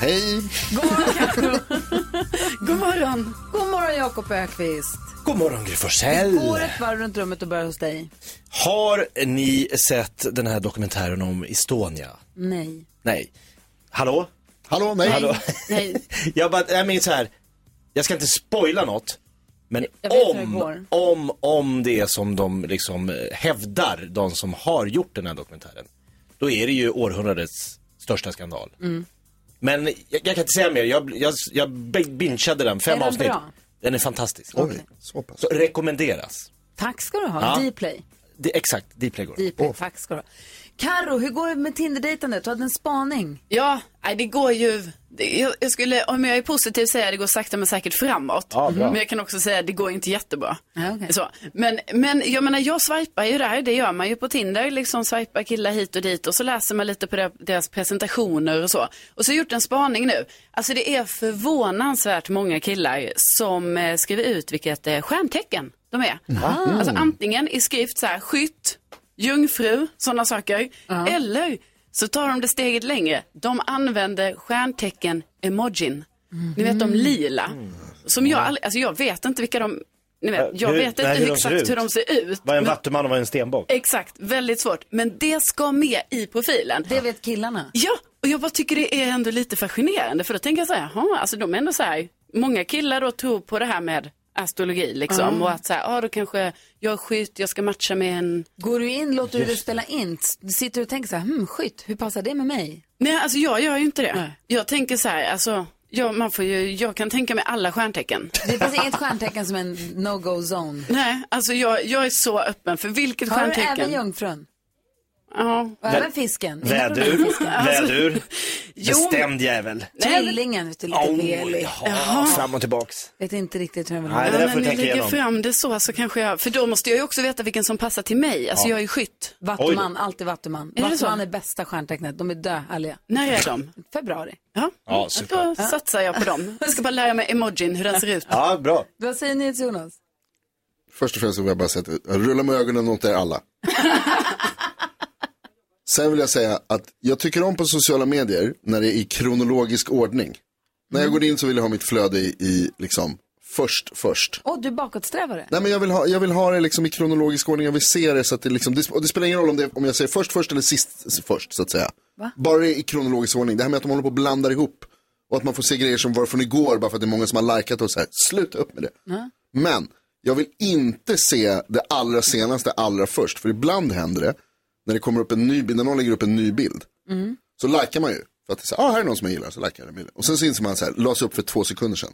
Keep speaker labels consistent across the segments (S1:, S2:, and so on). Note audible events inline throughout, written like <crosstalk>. S1: Hej!
S2: God morgon Carro. God morgon.
S3: God morgon Jakob Ökvist.
S1: God morgon Gry
S2: Vi
S1: Forssell!
S2: går ett varv runt rummet och börjar hos dig.
S1: Har ni sett den här dokumentären om Estonia?
S2: Nej.
S1: Nej. Hallå?
S4: Hallå, nej.
S1: Hallå? <laughs>
S2: Nej.
S1: Jag bara, jag menar så här. Jag ska inte spoila något. Men
S2: Jag vet hur det
S1: om,
S2: går.
S1: om, om det är som de liksom eh, hävdar, de som har gjort den här dokumentären. Då är det ju århundradets största skandal.
S2: Mm.
S1: Men jag, jag kan inte säga mer, jag, jag, jag bingeade den, fem
S2: Är den
S1: avsnitt.
S2: bra?
S1: Den är fantastisk.
S4: Oj, så pass.
S1: Så rekommenderas.
S2: Tack ska du ha.
S1: Ja.
S2: Dplay.
S1: Det, exakt, Dplay går.
S2: Dplay. Tack ska du ha. Carro, hur går det med Tinder-dejtandet? Du hade en spaning.
S5: Ja, nej, det går ju... det- Jag, jag skulle, om jag är positiv, säga att det går sakta men säkert framåt. men jag kan också säga att det går inte jättebra.
S2: Ja, okej.
S5: så. Men, men jag menar, jag swipar ju där, det gör man ju på Tinder. Liksom swipar killar hit och dit och så läser man lite på der- deras presentationer och så. Och så har jag gjort en spaning nu. Alltså det är förvånansvärt många killar som eh, skriver ut vilket eh, stjärntecken de är. Alltså antingen i skrift så här, skytt, jungfru, sådana saker. Eller så tar de det steget längre. De använder stjärntecken-emojin. Ni vet de lila. Som jag aldrig, alltså jag vet inte vilka de, ni vet, jag
S1: hur-
S5: vet inte
S1: nej, hur de ser ut.
S5: exakt hur de ser ut.
S1: Vad är en
S5: men- Eh,
S1: vattuman och vad är en stenbock?
S5: Exakt, väldigt svårt. Men det ska med i profilen.
S2: Det vet killarna.
S5: Ja, och jag bara tycker det är ändå lite fascinerande för då tänker jag så här, jaha, alltså de är ändå så här, många killar då tror på det här med astrologi liksom och att så här, ja ah, då kanske jag är skytt, jag ska matcha med en
S2: Går du in, låter du det spela in? S- Sitter du och tänker så här, hmm, skytt, hur passar det med mig?
S5: Nej, alltså jag gör ju inte det. Jag tänker så här, alltså, jag, man får ju, jag kan tänka mig alla
S1: <laughs>
S5: stjärntecken.
S2: Det finns inget stjärntecken som en no-go-zone.
S5: Nej, alltså jag, jag är så öppen för vilket
S2: Har du
S5: stjärntecken.
S2: även jungfrun?
S5: ja.
S2: Och även fisken? Inga problem.
S1: Vädur, vädur,
S5: Jo,
S1: bestämd jävel.
S2: Tvillingen, vet du, lite velig.
S1: jaha. Fram och tillbaks.
S2: Vet inte riktigt hur den vill ha
S1: Nej,
S5: Ja,
S1: det där
S5: men
S1: får
S5: om
S1: du
S5: jag
S1: tänka
S5: lägger
S1: igenom.
S5: fram det så, så kanske jag, för då måste jag ju också veta vilken som passar till mig. Alltså jag är ju skytt.
S2: Vattuman, alltid Vattuman.
S5: det
S2: Vattuman
S5: så?
S2: är bästa stjärntecknet. De är döhärliga.
S5: När är de?
S2: Februari.
S5: Ja,
S1: Ja,
S5: då
S1: super.
S5: satsar jag på dem. Jag ska bara lära mig emojin, hur den ser ut.
S1: Ja, bra.
S2: Vad säger ni till Jonas?
S4: Först och främst så vill jag bara säga att jag rullar med ögonen åt er
S1: <laughs>
S4: alla. Sen vill jag säga att jag tycker om på sociala medier när det är i kronologisk ordning. När jag
S1: Mm.
S4: går in så vill jag ha mitt flöde i, i liksom först, först.
S2: Åh, du är bakåtsträvare.
S4: Nej men jag vill ha, jag vill ha det liksom i kronologisk ordning, jag vill se det så att det liksom, det, och det spelar ingen roll om, det, om jag säger först först eller sist först så att säga. Bara det är i kronologisk ordning, det här med att de håller på och blandar ihop och att man får se grejer som var från igår bara för att det är många som har likat och så här, sluta upp med det. Men jag vill inte se det allra senaste allra först, för ibland händer det när det kommer upp en ny bild, när någon lägger upp en ny bild. Så likar man ju, för att det är så här, ah, här är någon som jag gillar, så likar jag den bilden. Och sen så inser man så här, lades upp för två sekunder sedan.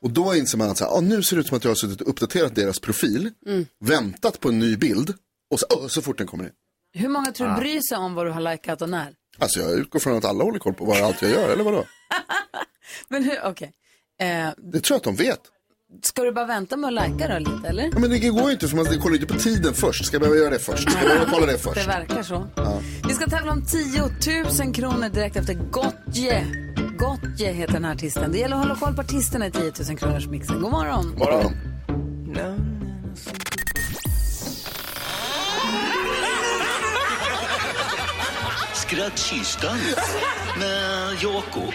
S4: Och då inser man att så här, ah, nu ser det ut som att jag har suttit och uppdaterat deras profil,
S2: Mm.
S4: väntat på en ny bild och så, "Åh", så fort den kommer in.
S2: Hur många tror du bryr sig om vad du har likat och när?
S4: Alltså jag utgår från att alla håller koll på vad allt jag gör, eller vadå?
S2: Men hur, okej. Eh,
S4: Det tror jag att de vet.
S2: ska du bara vänta med att lika då lite, eller?
S4: Ja, men det går ju inte för man kollar ju inte på tiden först. Ska jag behöva göra det först? Ska jag behöva kolla det
S2: Det
S4: först?
S2: verkar så. Vi ska tävla om 10 000 kronor direkt efter Gottje. Gottje heter den här artisten. Det gäller att hålla koll på artisterna i 10 000 kronors mixen. God morgon.
S4: Morgon.
S6: Skrattkistan med Jakob.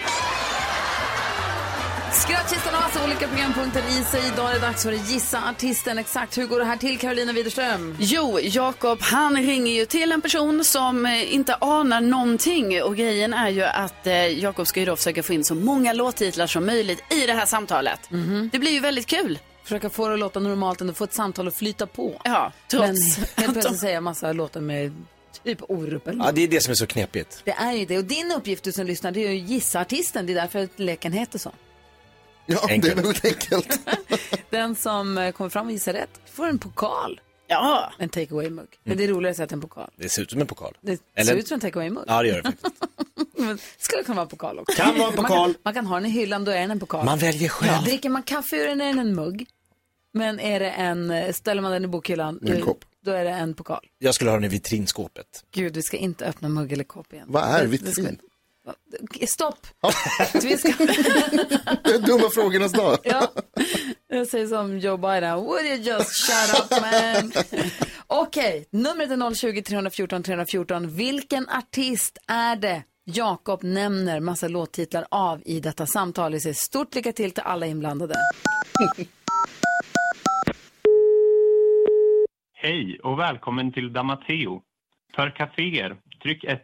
S2: Skrattkistan har alltså olika programpunkter i sig. Idag är det dags för att gissa artisten. Exakt hur går det här till, Carolina Widerström?
S5: Jo, Jakob han ringer ju till en person som eh, inte anar någonting och grejen är ju att eh, Jakob ska ju då försöka få in så många låttitlar som möjligt i det här samtalet.
S2: Mhm.
S5: Det blir ju väldigt kul.
S2: Försöka få det att låta normalt och få ett samtal att flyta på.
S5: Ja,
S2: Men
S5: trots
S2: helt
S5: att de...
S2: plötsligt säga massa låtar med typ Orup eller
S1: Ja,
S2: något.
S1: det är det som är så knepigt.
S2: Det är ju det. Och din uppgift du som lyssnar det är ju att gissa artisten. Det är därför att leken heter så.
S4: Ja, det är
S1: Enkelt.
S4: väldigt enkelt.
S2: Den som eh, kommer fram och gissar rätt får en pokal.
S5: <laughs> Ja,
S2: En takeaway-mugg. Men det är roligare att säga att det är en pokal.
S1: Det ser ut som en pokal.
S2: Det ser
S1: Mm. Eller-
S2: ut som en takeaway-mugg.
S1: Ja, det gör det faktiskt.
S2: Men skulle kunna vara en pokal också.
S1: Kan vara en
S2: Man
S1: pokal.
S2: kan, man kan ha den i hyllan, då är den en pokal.
S1: Man väljer själv.
S2: Dricker man kaffe ur den är den en mugg. Men är det en, eh, ställer man den i bokhyllan.
S4: Det är en
S2: eh,
S4: kopp.
S2: då är det en pokal.
S1: Jag skulle ha den i vitrinskåpet.
S2: Gud, vi ska inte öppna mugg eller kopp igen.
S4: Vad är
S2: Det- det ska-
S4: vitrin?
S2: Stopp! <laughs> vi ska...
S4: Det är dumma frågornas dag.
S2: Ja, jag säger som Joe Biden, would you just shut up man? Okej, numret är 020-314 314. Vilken artist är det Jakob nämner massa låttitlar av i detta samtal? Vi säger stort lycka till till alla inblandade.
S7: Hej och välkommen till Damateo. För kaféer, tryck 1.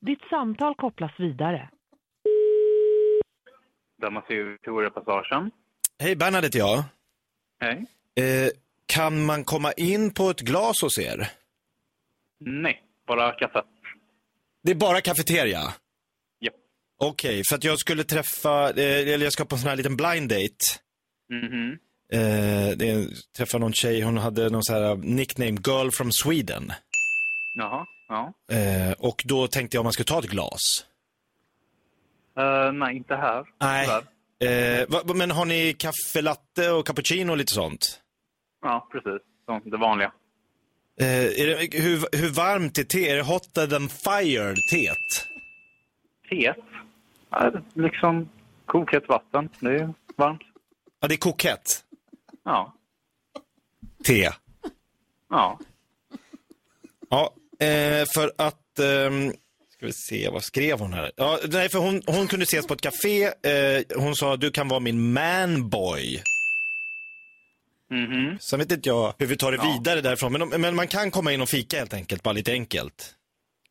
S8: Ditt samtal kopplas vidare.
S7: Damateo, Victoria-passagen.
S1: Hej, Bernhard heter jag.
S7: Hej.
S1: Eh, kan man komma in på ett glas hos er?
S7: Nej, bara kaffe.
S1: Det är bara kafeteria?
S7: Ja.
S1: Okej, för att jag skulle träffa, eh, eller jag ska på en sån här liten blind date.
S7: Mhm.
S1: Eh, det är, träffa någon tjej, hon hade någon sån här eh, nickname, girl from Sweden.
S7: Jaha, ja.
S1: Eh, och då tänkte jag om man skulle ta ett glas.
S7: Eh, nej, inte här.
S1: Nej.
S7: tyvärr.
S1: Eh, va, men har ni kaffe latte och cappuccino och lite sånt?
S7: Ja, precis. Så, det vanliga.
S1: Eh, är det, hur, hur varmt är te? Är det hotter than fire teet?
S7: Fet. Ja, liksom kokhett vatten. Det är varmt.
S1: Ja, det är kokett
S7: Ja,
S1: te.
S7: ja.
S1: Ja, eh, för att... ehm, ska vi se, vad skrev hon här? Ja, nej, för hon, hon kunde ses på ett café. Eh, hon sa, du kan vara min manboy.
S7: Mhm.
S1: Sen vet inte jag hur vi tar det vidare därifrån. Men, om- men man kan komma in och fika helt enkelt, bara lite enkelt.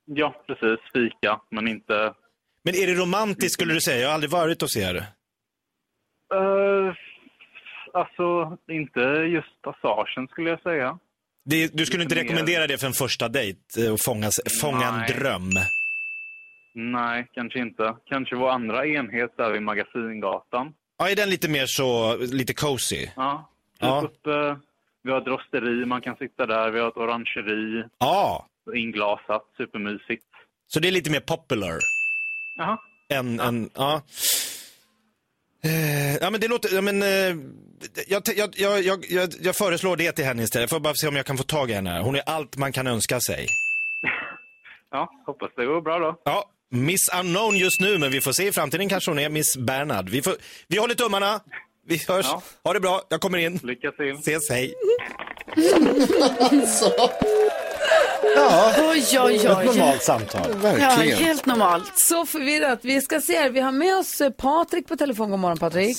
S7: Ja, precis. Fika, men inte...
S1: Men är det romantiskt skulle du säga? Jag har aldrig varit hos er.
S7: Uh, alltså, inte just passagen skulle jag säga.
S1: Det, du skulle inte
S7: Lite mer.
S1: rekommendera det för en första dejt? eh, Och fångas, fånga
S7: Nej.
S1: en dröm?
S7: Nej, kanske inte. Kanske vår andra enhet där vid Magasingatan.
S1: Ja, är den lite mer så, lite cozy?
S7: Ja. Typ
S1: Ja.
S7: Uppe, vi har ett rosteri, man kan sitta där. Vi har ett orangeri,
S1: Ja,
S7: inglasat, supermysigt.
S1: så det är lite mer popular?
S7: Jaha.
S1: En, en, ja. Eh, Ja men det låter, ja, men, eh, jag, te- jag, jag, jag, jag, jag föreslår det till henne istället. Jag får bara se om jag kan få tag i henne. här. Hon är allt man kan önska sig.
S7: Ja, hoppas det går bra då.
S1: Ja, Miss Unknown just nu, men vi får se i framtiden kanske hon är Miss Bernhard. Vi, får, vi håller tummarna. Vi hörs.
S7: Ja.
S1: Ha det bra, jag kommer in.
S7: Lycka till.
S1: Ses, hej. Alltså.
S5: Oj, oj, oj.
S9: Normalt samtal.
S5: Ja,
S4: Verkligen.
S5: helt normalt.
S2: Så förvirrat. Vi ska se här, vi har med oss eh, Patrik på telefon. God morgon Patrik.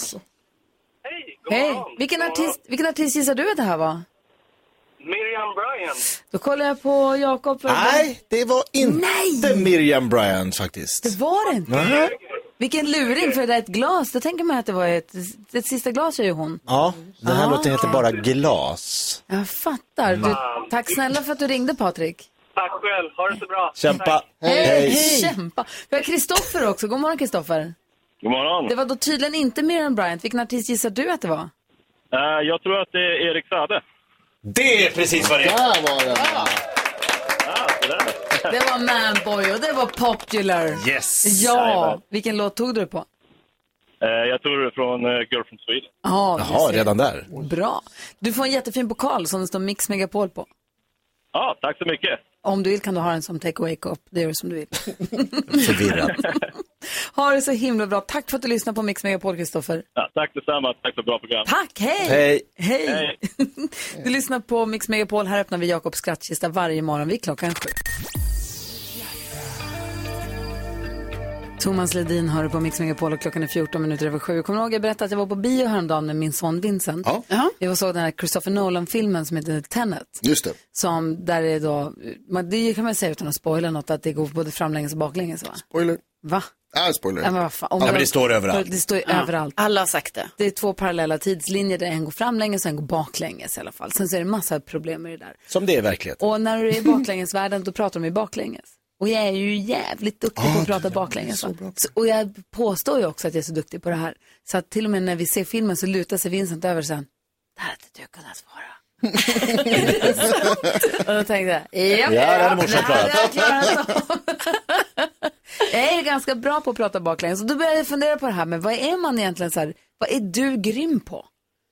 S10: Hej, god
S2: Hej,
S10: morgon.
S2: vilken
S10: God morgon.
S2: artist, vilken artist gissar du att det här var?
S10: Miriam Bryant.
S2: Då kollar jag på Jakob.
S1: Nej, det var inte Miriam Bryant faktiskt.
S2: Det var det inte. Vilken luring, för det där ett glas. Då tänker man att det var ett, ett sista glas är ju hon.
S9: Ja, den här
S2: Ah.
S9: låten heter bara Glas.
S2: Jag fattar. Du, tack snälla för att du ringde Patrik.
S10: Tack själv, ha det så bra.
S9: Kämpa.
S2: Kämpa. Vi har Kristoffer också. God morgon Kristoffer.
S10: God morgon.
S2: Det var då tydligen inte Miriam Bryant. Vilken artist gissar du att det var?
S10: Eh, jag tror att det är Erik Saade.
S1: Det är precis vad det är.
S4: Där var den.
S10: Ah, det där.
S2: Det var Manboy och det var Popular.
S1: Yes.
S2: Ja,
S10: Jajamän.
S2: vilken låt tog du på?
S10: Eh, jag tror det är från eh, Girl from Sweden.
S2: Ja, du
S1: Jaha,
S2: ser.
S1: redan där.
S2: Bra. Du får en jättefin pokal som det står Mix Megapol på.
S10: Ja, tack så mycket.
S2: Om du vill kan du ha den som take away-kopp. Det gör du som du
S1: <laughs>
S2: vill.
S1: Förvirrad.
S2: Ha det så himla bra. Tack för att du lyssnade på Mix Megapol, Kristoffer.
S10: Ja, tack detsamma, tack för bra program.
S2: Tack, hej!
S1: Hej.
S2: Hej.
S10: Hej.
S2: <laughs> Du lyssnar på Mix Megapol. Här öppnar vi Jakobs skrattkista varje morgon vid klockan sju. Thomas Ledin hör på Mix Megapol och klockan är 14 minuter över sju. Kommer du ihåg jag berättade att jag var på bio häromdagen med min son Vincent?
S4: Ja.
S5: Ja.
S2: Jag var och såg den här Christopher Nolan-filmen som heter Tenet
S4: Just det.
S2: som där är då, man, det kan man säga utan att spoila något, att det går både framlänges och baklänges va?
S4: Spoiler.
S2: Va?
S4: Ah,
S2: Ja men
S4: spoiler.
S2: vad fan. Om
S4: Ja,
S2: man-
S4: men
S1: det står överallt.
S2: Det står ju överallt.
S5: Alla har sagt det.
S2: Det är två parallella tidslinjer där en går framlänges och en går baklänges i alla fall. Sen så är det massa problem med det där.
S1: Som det är i verkligheten.
S2: Och när du <laughs> är i baklängesvärlden då pratar de ju baklänges. Och jag är ju jävligt duktig på att prata baklänges. va? Ah, Så, och jag påstår ju också att jag är så duktig på det här. Så att till och med när vi ser filmen så lutar sig Vincent över och säger, det här hade inte du kunnat svara. <laughs> och då tänkte jag, japp,
S9: Ja, det hade morsan
S2: det hade jag klarat av." Jag är ganska bra på att prata baklänges. Och då började jag fundera
S4: Ah.
S2: på det här med vad är man egentligen så här, vad är du grym på?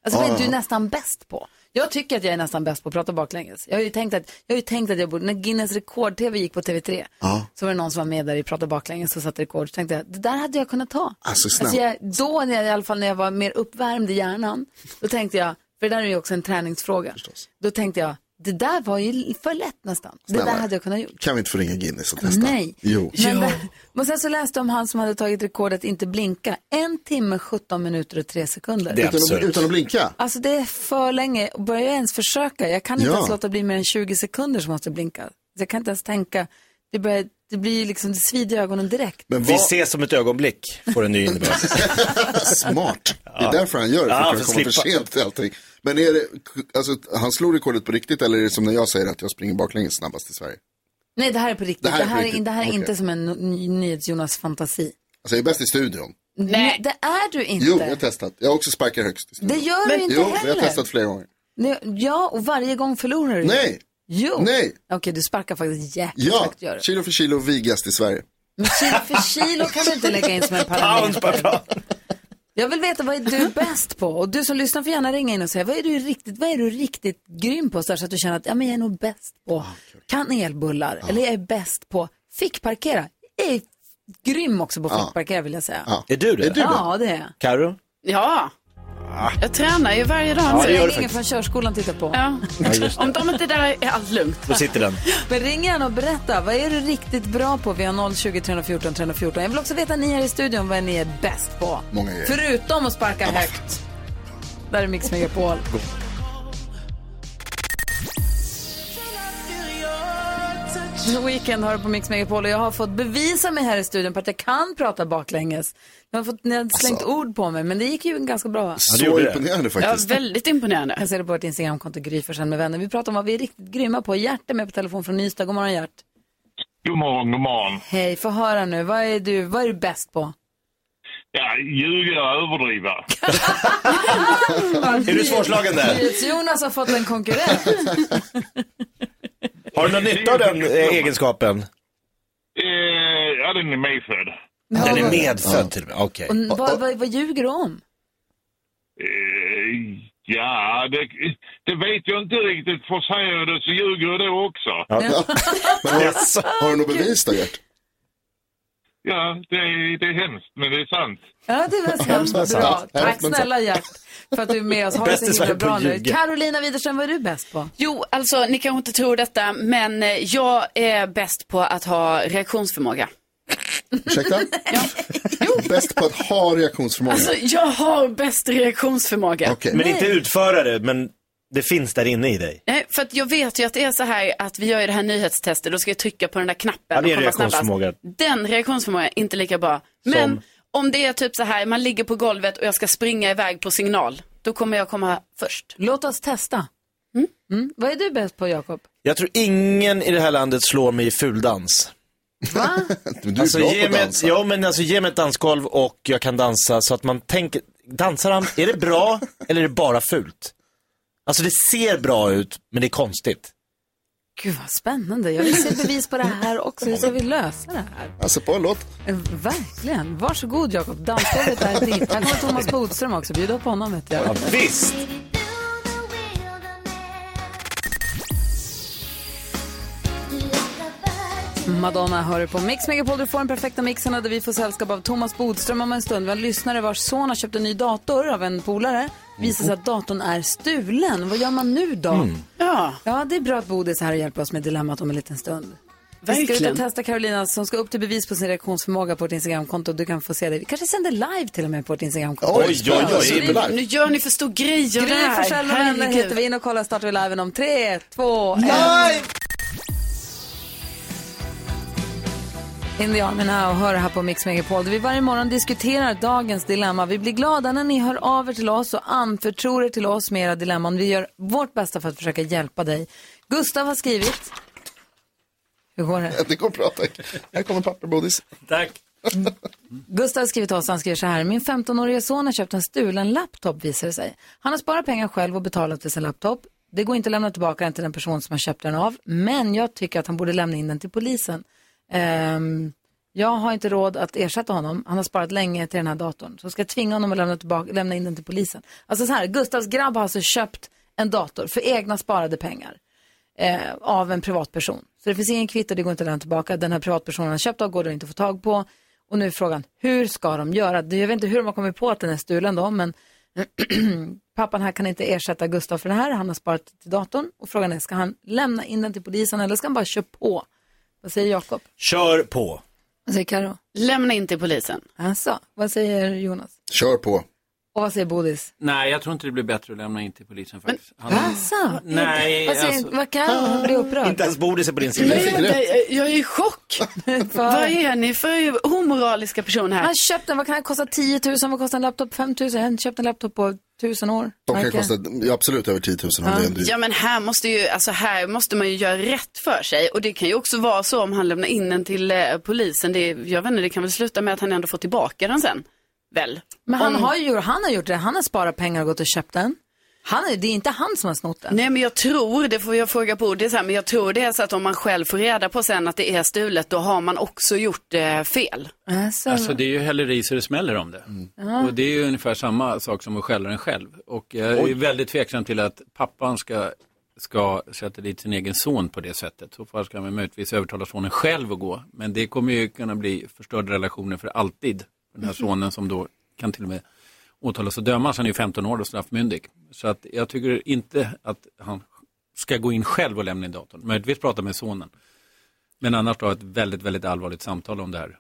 S2: Alltså vad är du nästan bäst på? Jag tycker att jag är nästan bäst på att prata baklänges. Jag har ju tänkt att jag, har ju tänkt att jag borde, när Guinness rekord-tv gick på TV3,
S4: Ja.
S2: så var det någon som var med där i Prata baklänges och satte rekord. Så tänkte jag, det där hade jag kunnat ta.
S4: Alltså, snälla.
S2: Alltså jag, då, när jag, i alla fall när jag var mer uppvärmd i hjärnan, då tänkte jag, för det där är ju också en träningsfråga, då tänkte jag, det där var ju för lätt nästan. Det där
S4: Snälla.
S2: hade jag kunnat gjort.
S4: Kan vi inte få ringa Guinness och testa?
S2: Nej.
S4: Jo.
S2: Men, det, men sen så läste jag om han som hade tagit rekordet inte blinka. En timme, 17 minuter och 3 sekunder.
S4: utan, att, utan att blinka?
S2: Alltså det är för länge. Och Börjar jag ens försöka, jag kan inte
S4: Ja.
S2: ens låta bli mer än 20 sekunder som måste blinka. Jag kan inte ens tänka, det, börjar, det blir liksom, det svider i ögonen direkt.
S1: Men Vi ses som ett ögonblick, får en
S2: <laughs>
S1: ny innebörd.
S4: Smart. Det är därför han gör det, för
S1: Ja,
S4: att
S1: för
S4: kunna komma för
S1: slippa.
S4: sent till allting. Men är det, alltså, han slog rekordet på riktigt eller är det som när jag säger att jag springer baklänges snabbast i Sverige?
S2: Nej, det här är på riktigt. Det här
S4: Det här
S2: är,
S4: är på riktigt.
S2: det här är
S4: Okej.
S2: inte som en ny- nyhets-Jonas-fantasi.
S4: Alltså jag är bäst i studion.
S2: Nej. Det är du inte.
S4: Jo, jag har testat. Jag har också sparkat högst. i studion.
S2: Det gör du inte
S4: jo,
S2: heller.
S4: jag har testat flera gånger.
S2: Nej, Ja, och varje gång förlorar du.
S4: Nej.
S2: Jo.
S4: Nej.
S2: Okej, du sparkar faktiskt jäkligt
S4: Ja,
S2: högt. Gör du.
S4: kilo för kilo vigast i Sverige.
S2: Men kilo för kilo kan du inte lägga in som en parameter. Jag vill veta vad är du bäst på? Och du som lyssnar får gärna ringa in och säga vad är du riktigt, vad är du riktigt grym på? Så, här, så att du känner att ja, men jag är nog bäst
S1: Ah,
S2: på kan elbullar eller jag är bäst på fickparkera. Jag är grym också på fickparkera vill jag säga.
S4: Ja.
S1: Är Ah. du det?
S2: Ja, det är jag.
S1: Karo?
S5: Ja, jag tränar ju varje dag.
S1: Ja, det gör du
S2: Ingen
S1: faktiskt.
S2: från körskolan tittar på.
S5: Ja.
S1: Ja, just det.
S5: Om de inte är där är allt lugnt.
S1: Då sitter den.
S2: Men ring gärna och berätta, vad är du riktigt bra på? Vi har 020 314 314. Jag vill också veta ni här i studion vad ni är bäst på.
S4: Många grejer.
S2: Förutom att sparka högt. Där är Mix Megapol. The Weeknd har du på Mix Megapol och jag har fått bevisa mig här i studion på att jag kan prata baklänges. Ni har, fått, ni har
S4: Alltså-
S2: slängt ord på mig men det gick ju ganska bra va?
S1: Ja, du
S4: Så
S1: gjorde det.
S4: imponerande
S5: Ja,
S4: faktiskt.
S5: väldigt imponerande.
S2: Jag ser det på vårt Instagramkonto Gry Forssell med vänner. Vi pratar om vad vi är riktigt grymma på. Gert är med på telefon från Ystad. God morgon Gert.
S10: God morgon, god morgon.
S2: Hej, få höra nu. Vad är du, vad är du bäst på?
S10: Ja, ljuga och överdriva.
S1: Är du svårslagen där?
S2: Jonas har fått en konkurrent.
S1: Har du någon nytta av den eh, egenskapen?
S10: Eh, ja, den är medfödd.
S1: Den är medfödd till och med. Okej.
S2: Och vad, vad, vad ljuger du om?
S10: Eh, ja, det, det vet jag inte riktigt. För säger jag det så ljuger jag då också.
S4: Men har, har du något bevis då, Gert?
S10: Ja, det, är- det är hemskt, men det är sant.
S2: Ja, det var
S4: Hemskt men
S2: sant. Bra.
S4: sant.
S2: Tack
S4: Hemskt men
S2: snälla Gert för att du är med oss. Har det
S1: Bäst i
S2: så himla
S1: Sverige på
S2: bra
S1: att
S2: nu.
S1: ljuga.
S2: Carolina Widerström, vad är du bäst på?
S5: Jo, alltså ni kanske inte tror detta, men eh, jag är bäst på att ha reaktionsförmåga.
S2: <laughs>
S4: Ursäkta? Bäst på att ha reaktionsförmåga.
S5: Alltså, jag har bäst reaktionsförmåga.
S4: Okej.
S1: Men inte utförare, men det finns där inne i dig.
S5: Nej, för att jag vet ju att det är så här att vi gör ju det här nyhetstestet, då ska jag trycka på den där knappen.
S1: Ja, det är
S5: och komma snabbast.
S1: reaktionsförmåga.
S5: Den reaktionsförmågan är inte lika bra. Men
S1: Som?
S5: om det är typ så här, man ligger på golvet och jag ska springa iväg på signal, då kommer jag komma först.
S2: Låt oss testa. Mm. Vad är du bäst på, Jakob?
S1: Jag tror ingen i det här landet slår mig i fuldans.
S2: Va?
S4: Men Du är
S1: Alltså,
S4: bra på
S1: ge
S4: att
S1: mig,
S4: dansa.
S1: ja, men alltså, ge mig ett dansgolv och jag kan dansa så att man tänker, dansar han, är det bra eller är det bara fult? Alltså det ser bra ut, men det är konstigt.
S2: Gud, vad spännande. Jag vill se bevis på det här också. Hur ska vi lösa det här?
S4: Alltså på en låt.
S2: Eh, Verkligen. Varsågod, Jakob. Dansgolvet är ditt. Här kommer Thomas Bodström också. Bjud upp honom, vet jag.
S1: Ja, visst!
S2: Madonna hör du på Mix Megapol. Du får den perfekta mixen där vi får sällskap av Thomas Bodström om en stund. Vi har en lyssnare vars son har köpt en ny dator av en polare. Visar sig att datorn är stulen. Vad gör man nu då?
S4: Mm.
S5: Ja,
S2: Ja, det är bra att Bodis är här och hjälper oss med dilemmat om en liten stund. Vi ska ut och
S5: verkligen.
S2: testa Carolina som ska upp till bevis på sin reaktionsförmåga på vårt Instagramkonto. Du kan få se det. Vi kanske sänder live till och med på vårt Instagramkonto.
S4: Oj, oj, oj.
S5: Så
S4: oj,
S5: nu,
S4: oj.
S5: nu gör ni för stor grej av det
S2: Gry
S5: här.
S2: Forssell med vänner
S5: Herregud.
S2: heter vi. In och kolla startar vi liven om tre, två, ett. In the army now, hör här på Mix Megapol där vi varje morgon diskuterar dagens dilemma. Vi blir glada när ni hör av er till oss och anförtror er till oss med era dilemman. Vi gör vårt bästa för att försöka hjälpa dig. Gustav har skrivit. Hur går det?
S4: <laughs> Det går bra tack. Här kommer papper, Bodis.
S1: Tack.
S2: Gustav har skrivit till oss, han skriver så här. Min 15-årige son har köpt en stulen laptop visar det sig. Han har sparat pengar själv och betalat för sin laptop. Det går inte att lämna tillbaka den till den person som har köpt den av. Men jag tycker att han borde lämna in den till polisen. Ehm, jag har inte råd att ersätta honom. Han har sparat länge till den här datorn. Så ska jag tvinga honom att lämna, tillbaka, lämna in den till polisen. Alltså så här, Gustavs grabb har alltså köpt en dator för egna sparade pengar eh, av en privatperson. Så det finns ingen kvitto, det går inte att lämna tillbaka. Den här privatpersonen har köpt av går det inte att få tag på. Och nu är frågan, hur ska de göra? Jag vet inte hur de har kommit på att den är stulen då, men <clears throat> pappan här kan inte ersätta Gustav för det här. Han har sparat till datorn och frågan är, ska han lämna in den till polisen eller ska han bara köra på? Vad säger Jakob?
S1: Kör på.
S2: Vad säger Karo?
S5: Lämna in till polisen.
S2: Alltså, vad säger Jonas?
S4: Kör på.
S2: Och vad säger Bodis?
S11: Nej, jag tror inte det blir bättre att lämna in till polisen faktiskt. Han...
S2: Alltså,
S11: Nej,
S2: vad, säger,
S11: alltså.
S2: vad kan han bli upprörd?
S1: Inte ens Bodis är på din sida.
S5: Nej, jag, jag är i chock. Vad är ni för omoraliska personer här?
S2: Han köpte den, vad kan den kosta? 10 000, vad kostar en laptop? 5 000? Han köpte en laptop på 1000 år.
S4: De kan ju
S2: Märke.
S4: kosta ja, absolut över 10 000 om det är en dyr.
S5: Ja men här måste, ju, alltså här måste man ju göra rätt för sig och det kan ju också vara så om han lämnar in den till eh, polisen. Det, jag vet inte, det kan väl sluta med att han ändå får tillbaka den sen. Väl?
S2: Men han
S5: Om-
S2: har ju han har gjort det, han har sparat pengar och gått och köpt den. Han är, det är inte han som har snott den.
S5: Nej men jag tror, det får jag fråga på det här, men jag tror det är så att om man själv får reda på sen att det är stulet då har man också gjort eh, fel.
S2: Alltså,
S11: Alltså det är ju häleri så det smäller om det.
S5: Ja.
S11: Och det är ju ungefär samma sak som att skälla den själv. Och jag är
S5: Oj.
S11: ju väldigt tveksam till att pappan ska, ska sätta dit sin egen son på det sättet. Så fall ska man möjligtvis övertala sonen själv att gå. Men det kommer ju kunna bli förstörda relationer för alltid. Den här
S12: Mhm.
S11: sonen som då kan till och med åtalas och dömas. Han är ju 15 år och straffmyndig. Så att jag tycker inte att han ska gå in själv och lämna in datorn. Möjligtvis prata med sonen. Men annars då ett väldigt, väldigt allvarligt samtal om det här.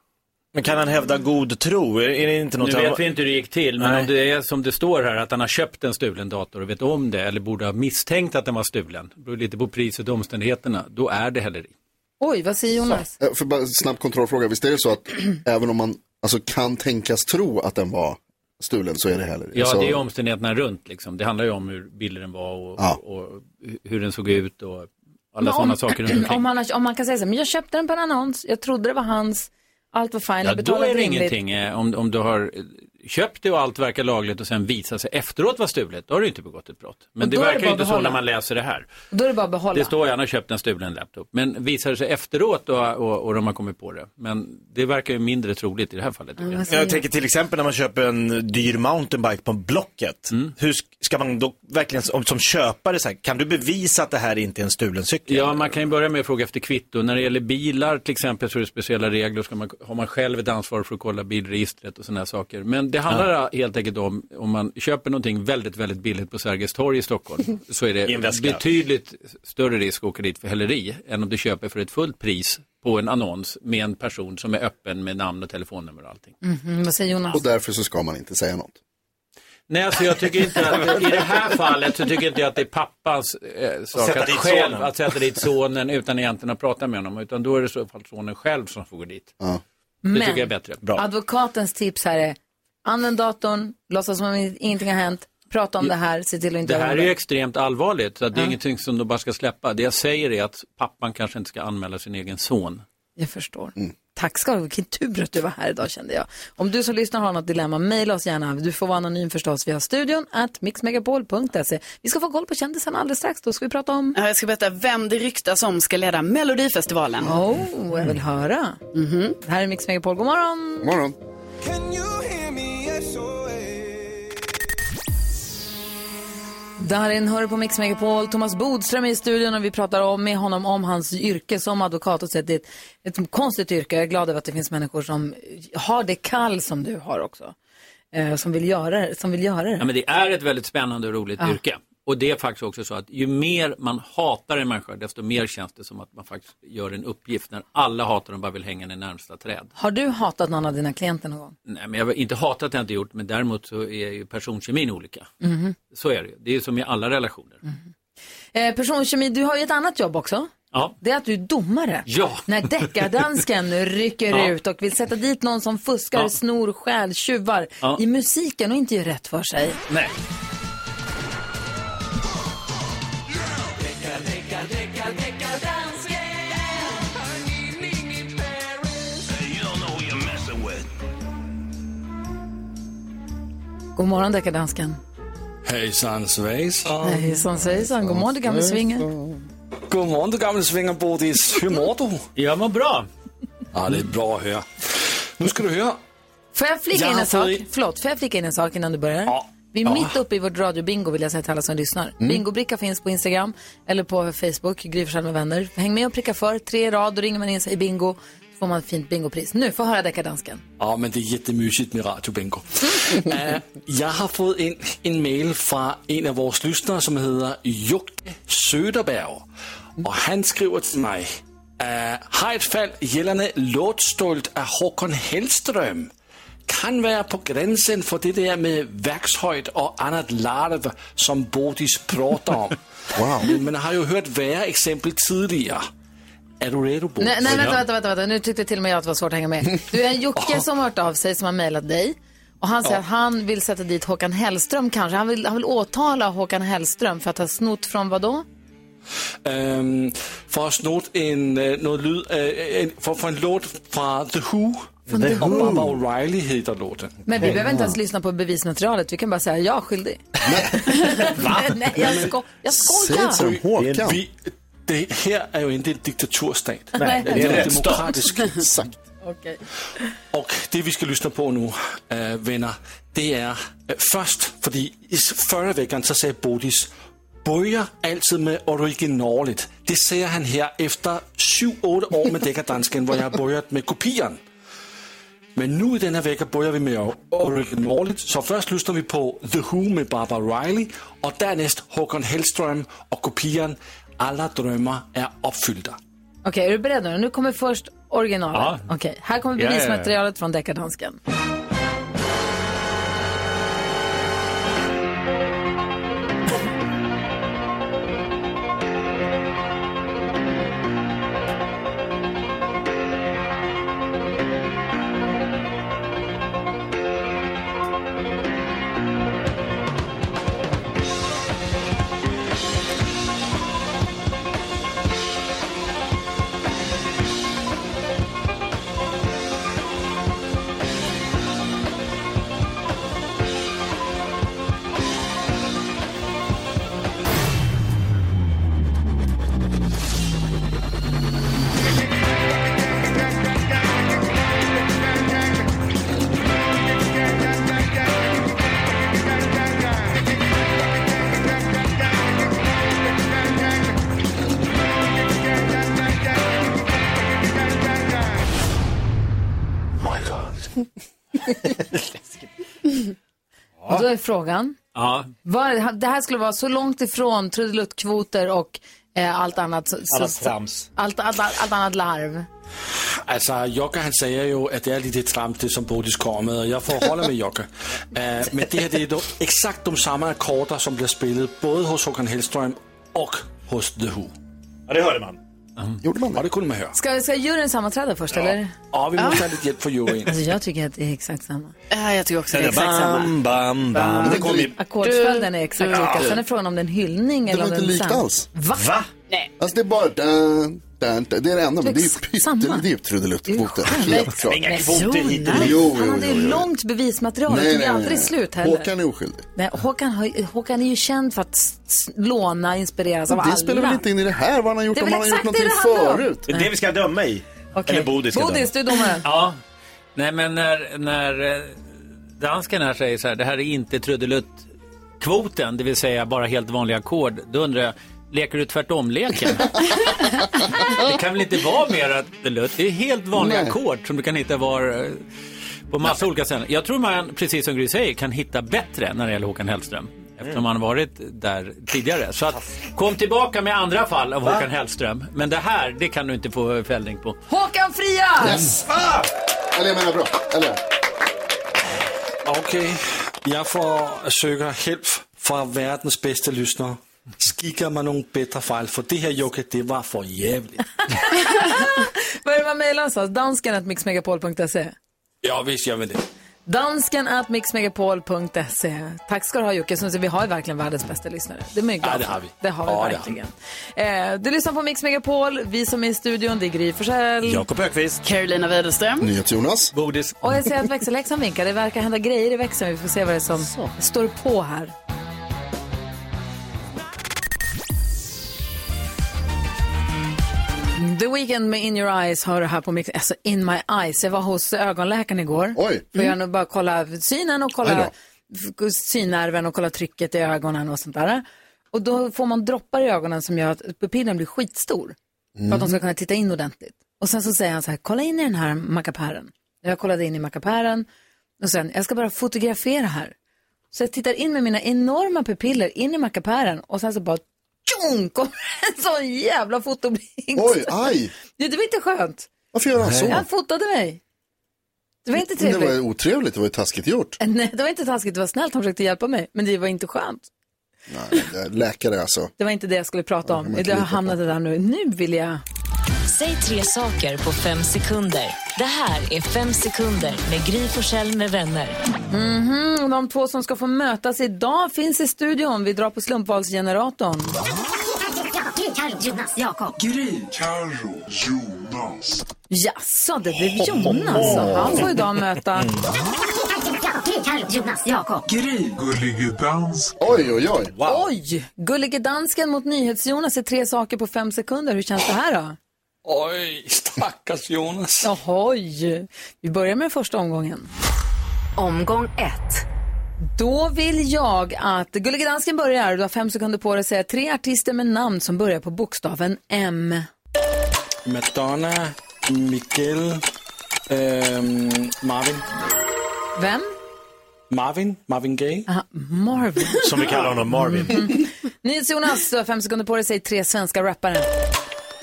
S1: Men kan han hävda god tro? Är- Är det inte något
S11: Nu
S1: han-
S11: vet vi inte hur det gick till, men
S1: Nej.
S11: om det är som det står här att han har köpt en stulen dator och vet om det eller borde ha misstänkt att den var stulen, det beror lite på priset och omständigheterna, då är det häleri.
S2: Oj, vad säger Jonas?
S4: Eh, För bara en snabb kontrollfråga, visst är det
S2: <clears throat>
S4: så att även om man alltså, kan tänkas tro att den var stulen så är det heller Alltså,
S11: Ja,
S4: så...
S11: det är ju omständigheterna runt liksom. Det handlar ju om hur billig den var och,
S4: Ja.
S11: och hur den såg ut och
S2: Men
S11: alla
S2: om-
S11: sådana saker runt
S2: <clears throat>
S11: omkring.
S2: om, han, har- om man kan säga så här, men jag köpte den på en annons, jag trodde det var hans, allt var fine,
S11: Ja,
S2: jag
S11: då
S2: betalade
S11: är det
S2: rimligt.
S11: ingenting eh, om, om du har eh, köpt det och allt verkar lagligt och sen visar sig efteråt vara stulet, då har du inte begått ett brott. Men
S2: Och
S11: det
S2: då är det
S11: verkar ju
S2: bara
S11: inte så
S2: behålla.
S11: när man läser det här.
S2: Då är det bara att behålla.
S11: Det står ju att han har köpt en stulen laptop. Men visar det sig efteråt och, och, och de har kommit på det. Men det verkar ju mindre troligt i det här fallet. tycker
S1: Jag, tänker till exempel när man köper en dyr mountainbike på Blocket. Hur sk- ska man då verkligen som, som köpare, så här, kan du bevisa att det här inte är en stulen cykel?
S11: Ja, man kan ju börja med att fråga efter kvitto. När det gäller bilar till exempel så är det speciella regler. Ska man, har man själv ett ansvar för att kolla bilregistret och sådana här saker. Men det handlar helt enkelt om, om man köper någonting väldigt, väldigt billigt på Sergels torg i
S1: <laughs>
S11: Stockholm, så är
S1: I en
S11: det
S1: väska.
S11: betydligt större risk att åka dit för häleri än om du köper för ett fullt pris på en annons med en person som är öppen med namn och telefonnummer och allting.
S2: Mhm, vad säger Jonas?
S4: Och därför så ska man inte säga något.
S11: Nej, alltså jag tycker inte att, i det här fallet så tycker inte jag att det är pappans eh, sak
S1: sätta
S11: att
S1: dit
S11: själv
S1: sonen.
S11: att sätta dit sonen utan egentligen att prata med honom. Utan då är det i så fall sonen själv som får gå dit. Det
S2: Men-
S11: tycker jag är bättre.
S2: Advokatens tips här är, använd datorn, låtsas som om ingenting har hänt, prata om det här, se till att inte
S11: Det här
S2: göra
S11: är ju extremt allvarligt, så att det är
S2: Ja.
S11: ingenting som de bara ska släppa. Det jag säger är att pappan kanske inte ska anmäla sin egen son.
S2: Jag förstår. Tack ska du ha. Vilken tur att du var här idag kände jag. Om du som lyssnar har något dilemma, mejla oss gärna. Du får vara anonym förstås. Vi har studion at mixmegapol.se. Vi ska få koll på kändisarna alldeles strax. Då ska vi prata om...
S5: Ja, Jag ska berätta vem det ryktas om ska leda Melodifestivalen.
S2: Oh, jag vill höra. Det här är Mix Megapol. God morgon!
S4: God morgon.
S2: Darin hör på Mix Megapol. Thomas Bodström är i studion och vi pratar om, med honom om hans yrke som advokat. Och så att det är ett, ett konstigt yrke. Jag är glad över att det finns människor som har det kall som du har också. Eh, som, vill göra, som vill göra det.
S11: Ja, men det är ett väldigt spännande och roligt
S2: Ja.
S11: yrke. Och det är faktiskt också så att ju mer man hatar en människa, desto mer känns det som att man faktiskt gör en uppgift när alla hatar och bara vill hänga i närmsta träd.
S2: Har du hatat någon av dina klienter någon gång?
S11: Nej, men jag har inte hatat det jag inte gjort, men däremot så är ju personkemin olika.
S2: Mhm.
S11: Så är det ju. Det är ju som i alla relationer.
S2: Eh, personkemi, du har ju ett annat jobb också.
S11: Ja.
S2: Det är att du är domare.
S11: Ja.
S2: När
S11: <laughs>
S2: deckardansken rycker
S11: Ja.
S2: ut och vill sätta dit någon som fuskar,
S11: Ja.
S2: snor, stjäl, tjuvar
S11: Ja.
S2: i musiken och inte gör rätt för sig.
S11: Nej.
S2: God morgon deckardansken.
S13: Hejsan svejsan.
S2: Hejsan svejsan, god morgon du gamle svinge.
S13: God morgon du gamle svingerbodis. Hur mår du?
S11: Jag mår bra.
S13: Ja, det är bra att höra. Nu ska du höra.
S2: Får jag flika
S13: Jag
S2: in
S13: har
S2: en sak?
S13: fått-
S2: Förlåt, får jag flika in en sak innan du börjar? Vi är
S3: Ja.
S2: mitt uppe i vårt radiobingo vill jag säga till alla som lyssnar.
S3: Mm.
S2: Bingobricka finns på Instagram eller på Facebook, Gry Forssell med vänner. Häng med och pricka för, tre i rad, då ringer man in sig i bingo. Så får man ett fint bingopris. Nu, få höra deckardansken.
S13: Ja, men det är jättemysigt med Radio Bingo. Eh, jag har fått en, en mail från en av våra lyssnare som heter Jocke Söderberg. Och han skriver till mig. Eh, har ett fall gällande låtstolt av Håkan Hellström. Kan vara på gränsen för det där med verkshöjd och annat larv som Bodis pratar om. Men man har ju hört värre exempel tidigare. Är du redo Bodis?
S2: Nej, nej vänta, vänta, vänta, vänta. Nu tyckte till och med jag att det var svårt att hänga med. Du är en Jocke som har hört av sig, som har mejlat dig. Och han säger
S13: Ja.
S2: att han vill sätta dit Håkan Hellström kanske. Han vill, han vill åtala Håkan Hellström för att ha snott från vad då?
S13: Ehm, för att snott en, eh, noget lyd, eh, en, for, for en låt från The Who.
S2: Från The
S13: och
S2: Who.
S13: Baba O'Reilly heter låten.
S2: Men vi behöver inte ens lyssna på bevismaterialet. Vi kan bara säga jag är skyldig. <laughs> nej, jag, sko- jag skojar.
S13: Håkan. Vi, det här är ju inte en diktaturstat.
S2: Nej, det är en rättsstat.
S13: Exakt.
S2: Okej.
S13: Och det vi ska lyssna på nu, äh, vänner, det är äh, först, för i förra veckan så sa Bodis börja alltid med originalet. Det säger han här efter 7-8 år med deckardansken, där jag har börjat med kopian. Men nu i denna vecka börjar vi med originalet, så först lyssnar vi på The Who med Barbara Riley och därnäst Håkan Hellström och kopian Alla drömmar är uppfyllda.
S2: Okej, är du beredd nu? Nu kommer först originalet.
S13: Ja.
S2: Okej, här kommer
S13: Ja, ja, ja.
S2: bevismaterialet från deckardansken. Och då är frågan.
S11: Ja.
S2: Var, det här skulle vara så långt ifrån trudeluttkvoter och eh, allt annat. Så, så-
S13: Allt trams.
S2: Allt, allt, allt, allt annat larv.
S13: Altså, Jokke han sagde jo, at det er lidt det tramp, det som Bodis kommer med, og jeg forholder med <laughs> Jokke. Uh, men det her, det er dog eksakt de samme akkorder, som bliver spillet både hos Håkan Hellstrøm og hos The Who. Og det hørte man. Gjorde man det? Og det kunne man høre.
S2: Ska, ska juryn sammanträda först eller?
S13: Og vi må tage lidt hjælp fra juryen.
S2: Alltså jag tycker att det är exakt samma.
S5: Ja, jag tycker också
S2: det är exakt samma.
S13: Bam, bam,
S2: bam.
S13: Det kom i...
S2: Ackordsföljden är exakt
S4: Ja.
S2: lika. Sen är frågan om det är en hyllning
S4: Det
S2: eller
S4: var
S2: om det är
S4: inte
S2: en
S4: likt
S2: sång.
S4: alls.
S2: Va? Nej.
S4: Alltså det är bara... Dun, dun, dun. Det är det enda, men det är ju
S2: Exakt samma.
S4: pyttel- det är ju trudeluttkvoter. Helt klart.
S2: Men Jonas,
S4: Jo,
S2: Han
S4: jo,
S2: hade
S4: jo,
S2: ju
S4: jo.
S2: långt bevismaterial. Det tog
S4: Nej,
S2: ju
S4: nej, nej,
S2: aldrig
S4: nej.
S2: slut heller.
S4: Håkan är oskyldig.
S2: Nej, Håkan, har, Håkan är ju känd för att s- s- låna, inspireras av
S4: Men
S2: alla.
S4: det spelar väl inte in i det här, vad han har gjort,
S2: Det är
S4: om
S2: väl
S4: han har gjort
S2: exakt det
S4: någonting
S2: det handlar om.
S4: förut.
S1: Det är det vi ska döma i.
S2: Okej.
S1: Eller Bodis ska
S2: Bodis,
S1: döma.
S2: du är domaren.
S11: Ja. Nej, men när, när eh, dansken här säger så här, det här är inte trudeluttkvoten, det vill säga bara helt vanliga ackord, då undrar jag, leker du tvärtom-leken? det kan väl inte vara mer att trudelutt, det är helt vanliga
S13: Nej.
S11: ackord som du kan hitta var eh, på massa olika ställen. Jag tror man, precis som Gry säger, kan hitta bättre när det gäller Håkan Hellström. Eftersom han varit där tidigare. Så att, kom tillbaka med andra fall av
S2: Va?
S11: Håkan Hellström. Men det här, det kan du inte få eh, fällning på.
S2: Håkan Fria!
S4: Yes! Eller jag menar bra. Eller?
S13: Okay, jeg får øh, søger hjælp fra verdens bedste lyssnere. Skikker mig nogle bedre fejl, for det her, Jokke, det var for jævligt.
S2: Vad är det man mejlar någonstans? Dansken at mixmegapol.se.
S13: Ja, visst gör vi det.
S2: Dansken at mixmegapol.se. Tack ska du ha Jocke, som du ser, vi har ju verkligen världens bästa lyssnare. Det är man ju glad
S13: Ja, det
S2: för.
S13: har vi.
S2: Det har vi
S13: Ja, det har vi.
S2: verkligen. Eh, du lyssnar på Mix Megapol, vi som är i studion, det är Gry Forssell.
S1: Ökvist.
S5: Carolina Widerström.
S4: Jonas.
S11: Bodis.
S2: Och jag ser att växelläxan vinkar. Det verkar hända grejer i växeln. Vi får se vad det är som står på här. The Weeknd med In Your Eyes har du här på mix. Alltså
S4: Mm.
S2: In My Eyes. Jag var hos ögonläkaren igår. Oj. För jag nu bara kolla synen och
S3: Aj
S2: kolla synnerven och kollar trycket i ögonen och sånt där. Och då får man droppar i ögonen som gör att pupillen blir skitstor. För att de ska kunna titta in ordentligt. Och sen så säger han så här, kolla in i den här mackapären. Jag kollade in i mackapären och sen, jag ska bara fotografera här. Så jag tittar in med mina enorma pupiller in i mackapären och sen så bara tjong, kommer en sån jävla fotoblixt.
S4: Oj, aj!
S2: Ja, <laughs> det var inte skönt.
S4: Varför gör han så?
S2: Han fotade mig. Det var inte trevligt.
S4: Det var ju otrevligt, det var ju taskigt gjort.
S2: <laughs> Nej, det var inte taskigt, det var snällt. Han försökte hjälpa mig, men det var inte skönt.
S4: Nej, det är läkare alltså.
S2: Det var inte det jag skulle prata om. Jag hamnade där nu. Nu vill jag...
S12: Säg tre saker på fem sekunder. Det här är Fem sekunder med Gry Forssell med vänner.
S2: Mhm, de två som ska få mötas idag finns i studion. Vi drar på slumpvalsgeneratorn.
S14: Gry, Carro, Jonas, Jakob. Gry, Carro, Jonas.
S2: Jaså, det blev Jonas. så Han får idag möta...
S14: Gry, Carro, Jonas, Jakob. Gry.
S10: Gullige dans.
S4: Oj, oj, oj.
S2: Oj! Gullige dansken mot NyhetsJonas är tre saker på fem sekunder. Hur känns det här då?
S13: Oj, stackars Jonas.
S2: Ohoj! Vi börjar med den första omgången.
S12: Omgång ett.
S2: Då vill jag att Gullige dansken börjar. Du har fem sekunder på dig att säga tre artister med namn som börjar på bokstaven M.
S13: Madonna, Miguel, ehm, Marvin.
S2: Vem?
S13: Marvin, Marvin Gaye.
S2: Aha, Marvin.
S13: <laughs>
S2: Mm.
S13: Som vi kallar honom, Marvin.
S2: NyhetsJonas, du har fem sekunder på dig att säga tre svenska rappare.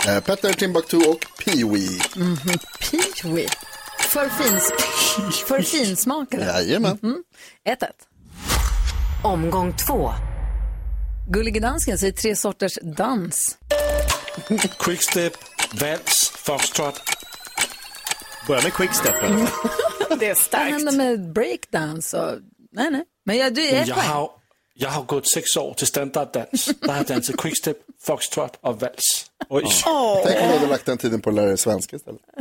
S4: Eh, Petter, Timbuktu och Pee-Wee.
S2: Mhm, Pee-wee. För, fins... för finsmakare.
S4: Jajamän.
S2: Mhm. 1-1.
S12: Omgång två.
S2: Gullige dansken säger tre sorters dans.
S13: Quickstep, vals, foxtrot.
S9: Börja med quickstep.
S2: det är starkt. Vad händer med breakdance och... Nej, nej. Men jag, du är
S13: Men
S2: ett
S13: jag
S2: poäng.
S13: har, jag har gått sex år till standarddans. Där har jag dansat quickstep, foxtrot och vals. Oj.
S2: Åh.
S4: Tänk om du hade lagt den tiden på att lära dig svenska istället.
S2: <laughs>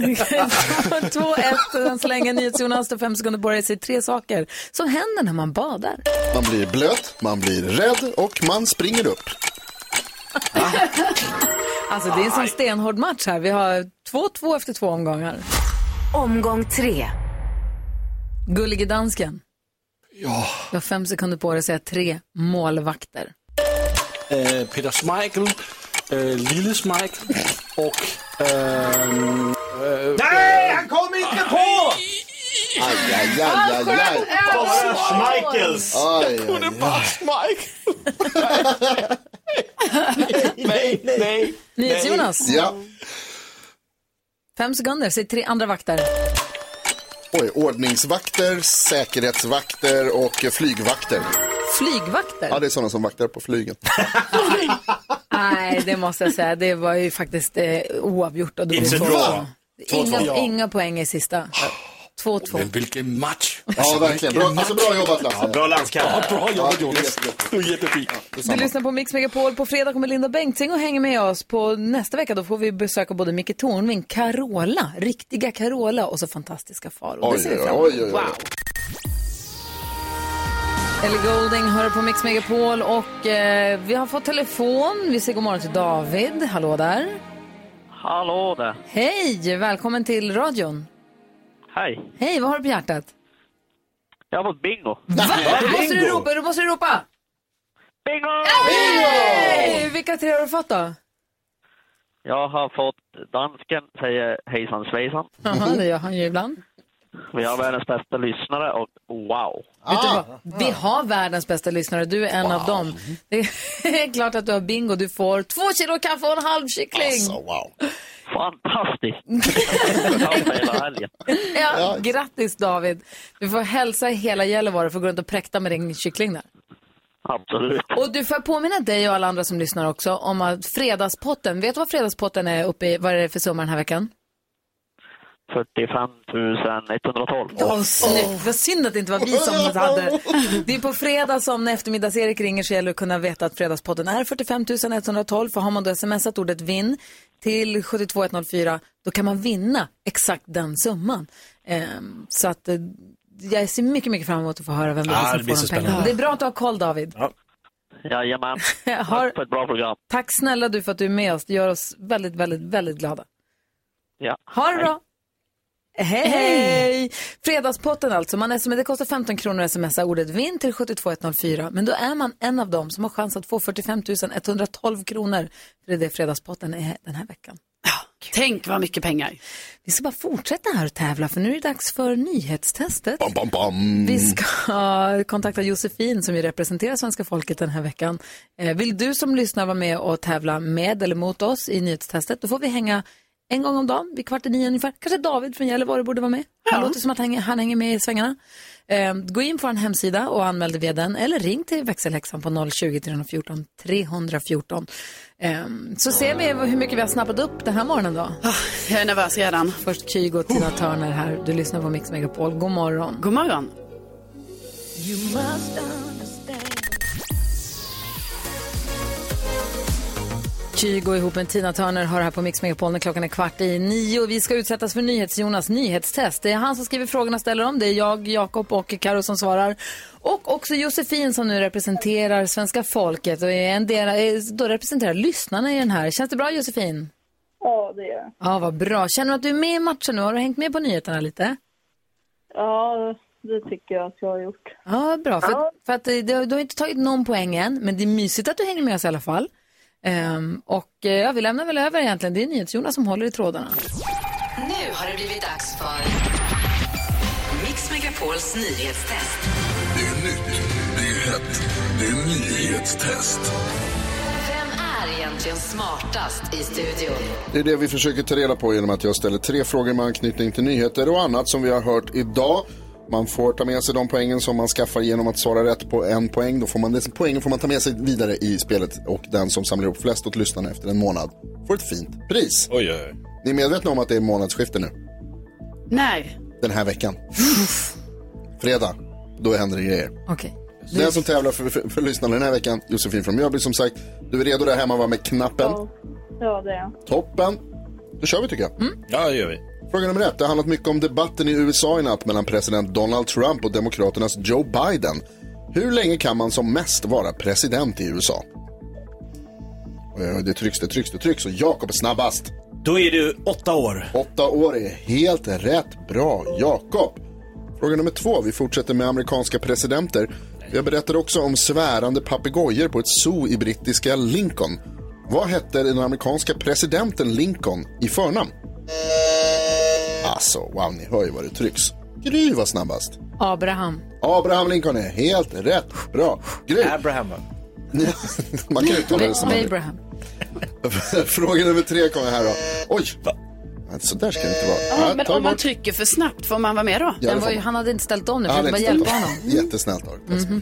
S2: 2-1 än så länge. NyhetsJonas, du har fem sekunder på dig att säga tre saker som händer när man badar.
S4: Man blir blöt, man blir rädd och man springer upp.
S2: Alltså det är en sån stenhård match här. Vi har 2-2 efter två omgångar.
S12: Omgång tre.
S2: Gullige dansken. Ja. Du har fem sekunder på dig att säga tre målvakter.
S13: Eh, Peter Schmeichel, eh, Lille Schmeichel och... ehm, eh,
S6: Nej, han kom inte på!
S4: Aj, aj, aj, aj, aj.
S6: Bara Schmeichels.
S4: Aj, aj,
S6: kunde
S4: aj.
S13: Mike! nej, nej, nej.
S2: NyhetsJonas.
S4: Ja.
S2: Fem sekunder, säg tre andra vakter.
S4: Oj, ordningsvakter, säkerhetsvakter och eh, flygvakter.
S2: Flygvakter?
S4: Ja, det är sådana som vaktar på flygen.
S2: Nej, det måste jag säga. Det var ju faktiskt eh, oavgjort. Och det
S13: It's
S2: blev
S13: a
S2: två-
S13: draw. Två, två.
S2: Inga,
S13: Ja. Ah.
S2: inga poäng i sista. 2-2.
S13: Men vilken match!
S4: Ja, verkligen. Bra, alltså, bra jobbat, Lasse.
S9: Ja, bra landskalle.
S13: Ja, bra jobbat, Jonas. Du är jättefin.
S2: Du lyssnar på Mix Megapol. På fredag kommer Linda Bengtzing och hänger med oss. På nästa vecka då får vi besöka både Micke Tornving, Carola, riktiga Carola och så fantastiska Farao. Det
S4: Oj,
S2: ser vi
S4: oj,
S2: fram
S4: oj, oj,
S2: emot. Wow. Ellie Golding hör på Mix Megapol och eh, vi har fått telefon. Vi säger god morgon till David. Hallå där.
S15: Hallå där.
S2: Hej, välkommen till radion.
S15: Hej.
S2: Hej, vad har du på hjärtat?
S15: Jag har fått bingo.
S2: Då måste du ropa, då måste du ropa!
S15: Bingo!
S2: Hey! Vilka tre har du fått
S4: <laughs>
S2: då?
S15: Jag har fått dansken säger hejsan svejsan.
S2: Jaha, det gör han ju ibland.
S15: Vi har världens bästa lyssnare och wow.
S2: Vet du vad? Vi har världens bästa lyssnare, du är en av dem. Det är <laughs> klart att du har bingo, du får två kilo kaffe och en halv kyckling.
S4: Alltså, wow.
S8: <laughs>
S15: Fantastiskt! Jag har hela helgen.
S2: Ja, grattis David. Du får hälsa i hela Gällivare för att gå runt och präkta med din kyckling där.
S15: Absolut.
S2: Och du får påminna dig och alla andra som lyssnar också om att fredagspotten, vet du vad fredagspotten är uppe i, vad är det för summa den här veckan?
S15: 45 112.
S2: Åh, snyggt. Vad synd att det inte var vi som hade. Det är på fredag som när eftermiddags-Erik ringer så gäller det att kunna veta att fredagspodden är 45 112. För har man då smsat ordet vinn till 72104 då kan man vinna exakt den summan. Ehm, så att eh, jag ser mycket, mycket fram emot att få höra vem det
S15: Ja,
S2: är som
S15: det blir
S2: får
S15: så
S2: de pengarna.
S15: spännande.
S2: Det är bra att du har koll David.
S15: Jajamän.
S2: <laughs> Har-
S15: Tack för ett bra program.
S2: Tack snälla du för att du är med oss. Det gör oss väldigt, väldigt, väldigt glada.
S15: Ja.
S2: Ha det bra. Hej! Hej! Fredagspotten alltså. Man sm- det kostar 15 kronor att smsa ordet vinn till 72104. Men då är man en av dem som har chans att få 45 112 kronor. För det är det Fredagspotten är den här veckan.
S5: Tänk vad mycket pengar.
S2: Vi ska bara fortsätta här och tävla för nu är det dags för nyhetstestet.
S4: Bam, bam, bam.
S2: Vi ska <laughs> kontakta Josefin som ju representerar svenska folket den här veckan. Eh, Vill du som lyssnar vara med och tävla med eller mot oss i nyhetstestet, då får vi hänga en gång om dagen, vid kvart i nio ungefär. Kanske David från Gällivare borde vara med. Det låter som att han, han hänger med i svängarna. Eh, Gå in på vår hemsida och anmäl dig via den eller ring till växelhäxan på 020-314 314. Eh, Så ser vi hur mycket vi har snappat upp den här morgonen då.
S5: Jag är nervös redan.
S2: Först Kygo och Tina Turner här. Du lyssnar på Mix Megapol. God morgon.
S5: God morgon.
S2: Kygo ihop med Tina Turner har här på Mix Megapol när klockan är kvart i nio. Vi ska utsättas för NyhetsJonas nyhetstest. Det är han som skriver frågorna och ställer dem. Det är jag, Jakob och Karo som svarar. Och också Josefin som nu representerar svenska folket och är en del, är- då representerar lyssnarna i den här. Känns det bra Josefin?
S16: Ja, det gör jag.
S2: Ja, vad bra. Känner du att du är med i matchen nu? Har du hängt med på nyheterna lite?
S16: Ja, det tycker jag att jag har gjort.
S2: Ja, bra. För, för att eh, du, du har inte tagit någon poäng än, men det är mysigt att du hänger med oss i alla fall. Ehm, och eh, ja, vi lämnar väl över egentligen. Det är NyhetsJonas som håller i trådarna.
S12: Nu har det blivit dags för Mix Megapols nyhetstest.
S17: Det är nytt, det är hett, det är nyhetstest.
S12: Vem är egentligen smartast i studion?
S4: Det är det vi försöker ta reda på genom att jag ställer tre frågor med anknytning till nyheter och annat som vi har hört idag. Man får ta med sig de poängen som man skaffar genom att svara rätt på en poäng. Då får man, den poängen får man ta med sig vidare i spelet och den som samlar ihop flest åt lyssnarna efter en månad får ett fint pris.
S1: Oj, oj, oj.
S4: Ni är medvetna om att det är månadsskifte nu?
S5: Nej.
S4: Den här veckan. Fredag, då händer det grejer.
S2: Okej.
S4: Den som tävlar för, för, för lyssnarna den här veckan, Josefin från Mjölby som sagt. Du är redo där hemma va, med knappen?
S16: Ja, det är jag. Mm.
S4: Toppen. Då kör vi tycker jag. Ja, det gör vi. Fråga nummer ett. Det har handlat mycket om debatten i USA i natt mellan president Donald Trump och demokraternas Joe Biden. Hur länge kan man som mest vara president i USA? Oj, oj, Eh, Det trycks, det trycks, det trycks och Jakob är snabbast.
S1: Då är du åtta år.
S4: Åtta år är helt rätt. Bra, Jakob. Fråga nummer två. Vi fortsätter med amerikanska presidenter. Jag berättade också om svärande papegojor på ett zoo i brittiska Lincoln. Vad hette den amerikanska presidenten Lincoln i förnamn? Alltså, wow, ni hör ju vad det trycks. Gry var snabbast.
S2: Abraham.
S4: Abraham Lincoln är helt rätt. Bra. Gry. Abraham, <laughs> Man kan uttala det som man vill.
S2: Abraham.
S4: <laughs> Fråga nummer tre kommer här då. Oj! Nej, Så där ska det inte vara.
S5: Ja,
S4: Ja,
S5: men
S4: ta
S5: om man
S4: bort.
S5: trycker för snabbt, får man vara med då?
S4: Ja, det Den var ju- får man.
S2: han hade inte ställt om
S4: Ja, det är inte snällt av- <laughs> Jättesnällt av dig.
S2: Mm-hmm.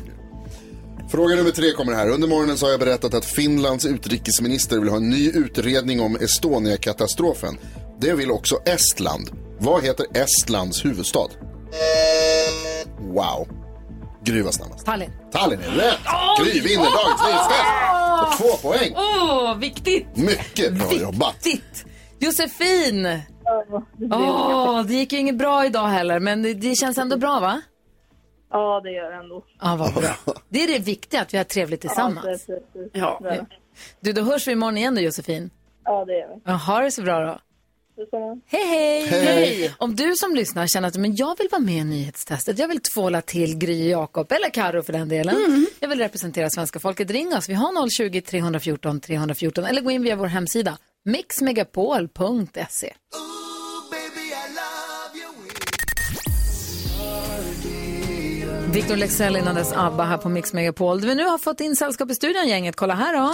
S4: Fråga nummer tre kommer här. Under morgonen så har jag berättat att Finlands utrikesminister vill ha en ny utredning om Estonia-katastrofen. Det vill också Estland. Vad heter Estlands huvudstad? Wow. Gry var snabbast.
S2: Tallinn.
S4: Tallinn är rätt. Gry vinner dagens nyhetstest. Och två poäng.
S2: Åh, viktigt!
S4: Mycket bra jobbat.
S2: Viktigt! Josefin! Åh, det gick ju inget bra idag heller, men det, det känns ändå bra va?
S16: Ja, det gör jag ändå.
S2: Ja, vad
S4: <laughs>
S2: bra. Det är det viktiga, att vi har trevligt tillsammans.
S16: Ja, precis.
S2: Ja.
S16: Det är jag.
S2: Du, då hörs vi imorgon igen då Josefin.
S16: Ja, det gör vi.
S2: Ja, Ha det så bra då.
S16: Detsamma.
S2: Hej, hej!
S16: Hej.
S2: Om du som lyssnar känner att men jag vill vara med i nyhetstestet, jag vill tvåla till Gry och Jakob, eller Karo för den delen. Jag vill representera svenska folket. Ring oss, vi har 020 314 314 eller gå in via vår hemsida mixmegapol.se. Victor Lexell innan dess ABBA här på Mix Megapol. Vi nu har fått in sällskap i studion gänget. Kolla här då.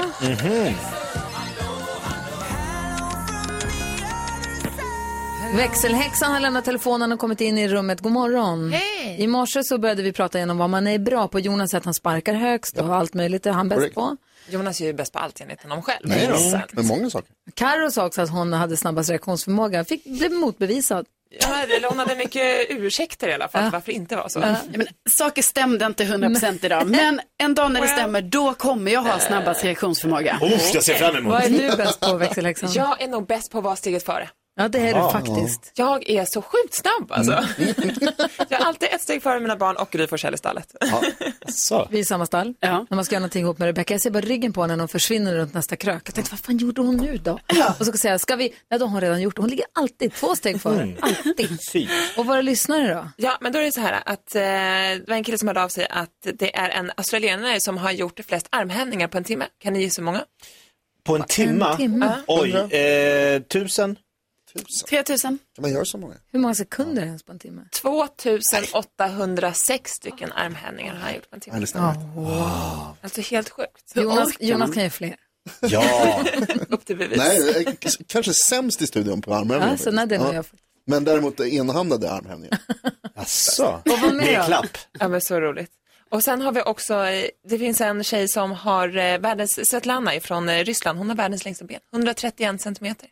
S2: Växelhäxan har lämnat telefonen och kommit in i rummet. God morgon. I morse så började vi prata igenom vad man är bra på. Jonas att han sparkar högst och allt möjligt är han bäst
S18: Korrekt.
S2: på.
S18: Jonas är ju bäst på allt enligt honom själv.
S4: Nej då,
S18: Exakt.
S4: men många saker.
S2: Carro sa också att hon hade snabbast reaktionsförmåga. Fick, blev motbevisad.
S18: Ja, eller hon hade mycket ursäkter i alla fall varför det inte var så.
S5: Men, saker stämde inte 100% idag, men en dag när det stämmer, då kommer jag ha snabbast reaktionsförmåga.
S18: Uff, jag ser fram emot. Vad är du bäst
S2: på växelhäxan?
S18: Jag är nog bäst på att vara steget före.
S2: Ja, det är det faktiskt.
S18: Jag är så sjukt snabb alltså.
S2: Mm.
S18: jag är alltid ett steg före mina barn och Gry Forssell i stallet.
S2: Så. Vi är i samma stall. När man ska göra någonting ihop med Rebecca. Jag ser bara ryggen på henne när hon försvinner runt nästa krök. Jag tänkte, vad fan gjorde hon nu då? Och så ska jag säga, ska vi? Nej, då har hon redan gjort det. Hon ligger alltid två steg före.
S18: Mm.
S2: <laughs> Alltid. Och våra lyssnare då?
S18: Ja, men då är det så här att eh, det var en kille som hörde av sig att det är en australienare som har gjort flest armhävningar på en timme. Kan ni gissa hur många?
S19: På en timma?
S18: timme.
S19: Oj, eh, tusen?
S18: 3000.
S4: Kan man göra så många?
S2: Hur många sekunder ens på en timme?
S18: 2806 stycken armhävningar har han gjort på en timme. Alltså helt sjukt.
S2: Jonas, Jonas kan ju fler.
S4: Ja.
S18: Upp till bevis.
S4: Nej, jag är k- kanske sämst i studion på armhävningar.
S2: Ja, så nej, det är nog jag
S4: Men däremot enhandade armhävningar.
S19: Jaså?
S18: Och vad mer då? Ja, men så roligt. Och sen har vi också, eh, det finns en tjej som har eh, världens, Svetlana från Ryssland, hon har världens längsta ben, 131 centimeter.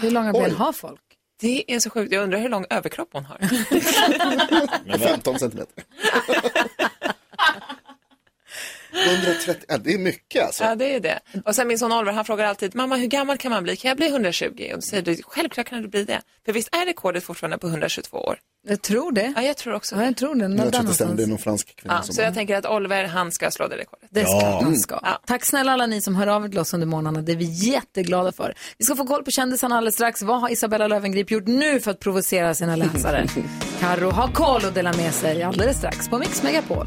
S2: Hur långa ben har folk?
S18: Det är så sjukt, jag undrar hur lång överkropp hon har. <laughs>
S4: 15 centimeter. 130, ja, det är mycket alltså.
S18: Ja, det är det. Och sen min son Oliver, han frågar alltid, mamma hur gammal kan man bli? Kan jag bli 120? Och då säger du, självklart kan du bli det. För visst är rekordet fortfarande på 122 år?
S2: Jag tror det.
S18: Ja, jag tror också
S2: ja, jag tror det.
S4: Men
S2: Någon
S4: jag tror att det
S2: annanstans.
S4: stämmer, det är någon fransk kvinna
S18: Ja,
S4: som...
S18: så jag tänker att Oliver, han ska slå det rekordet.
S2: Det ska
S4: Ja.
S2: man ska. Tack snälla alla ni som hör av er till oss under morgnarna. Det är vi jätteglada för. Vi ska få koll på kändisarna alldeles strax. Vad har Isabella Löwengrip gjort nu för att provocera sina läsare? Karo har koll och delar med sig alldeles strax på Mix Megapol.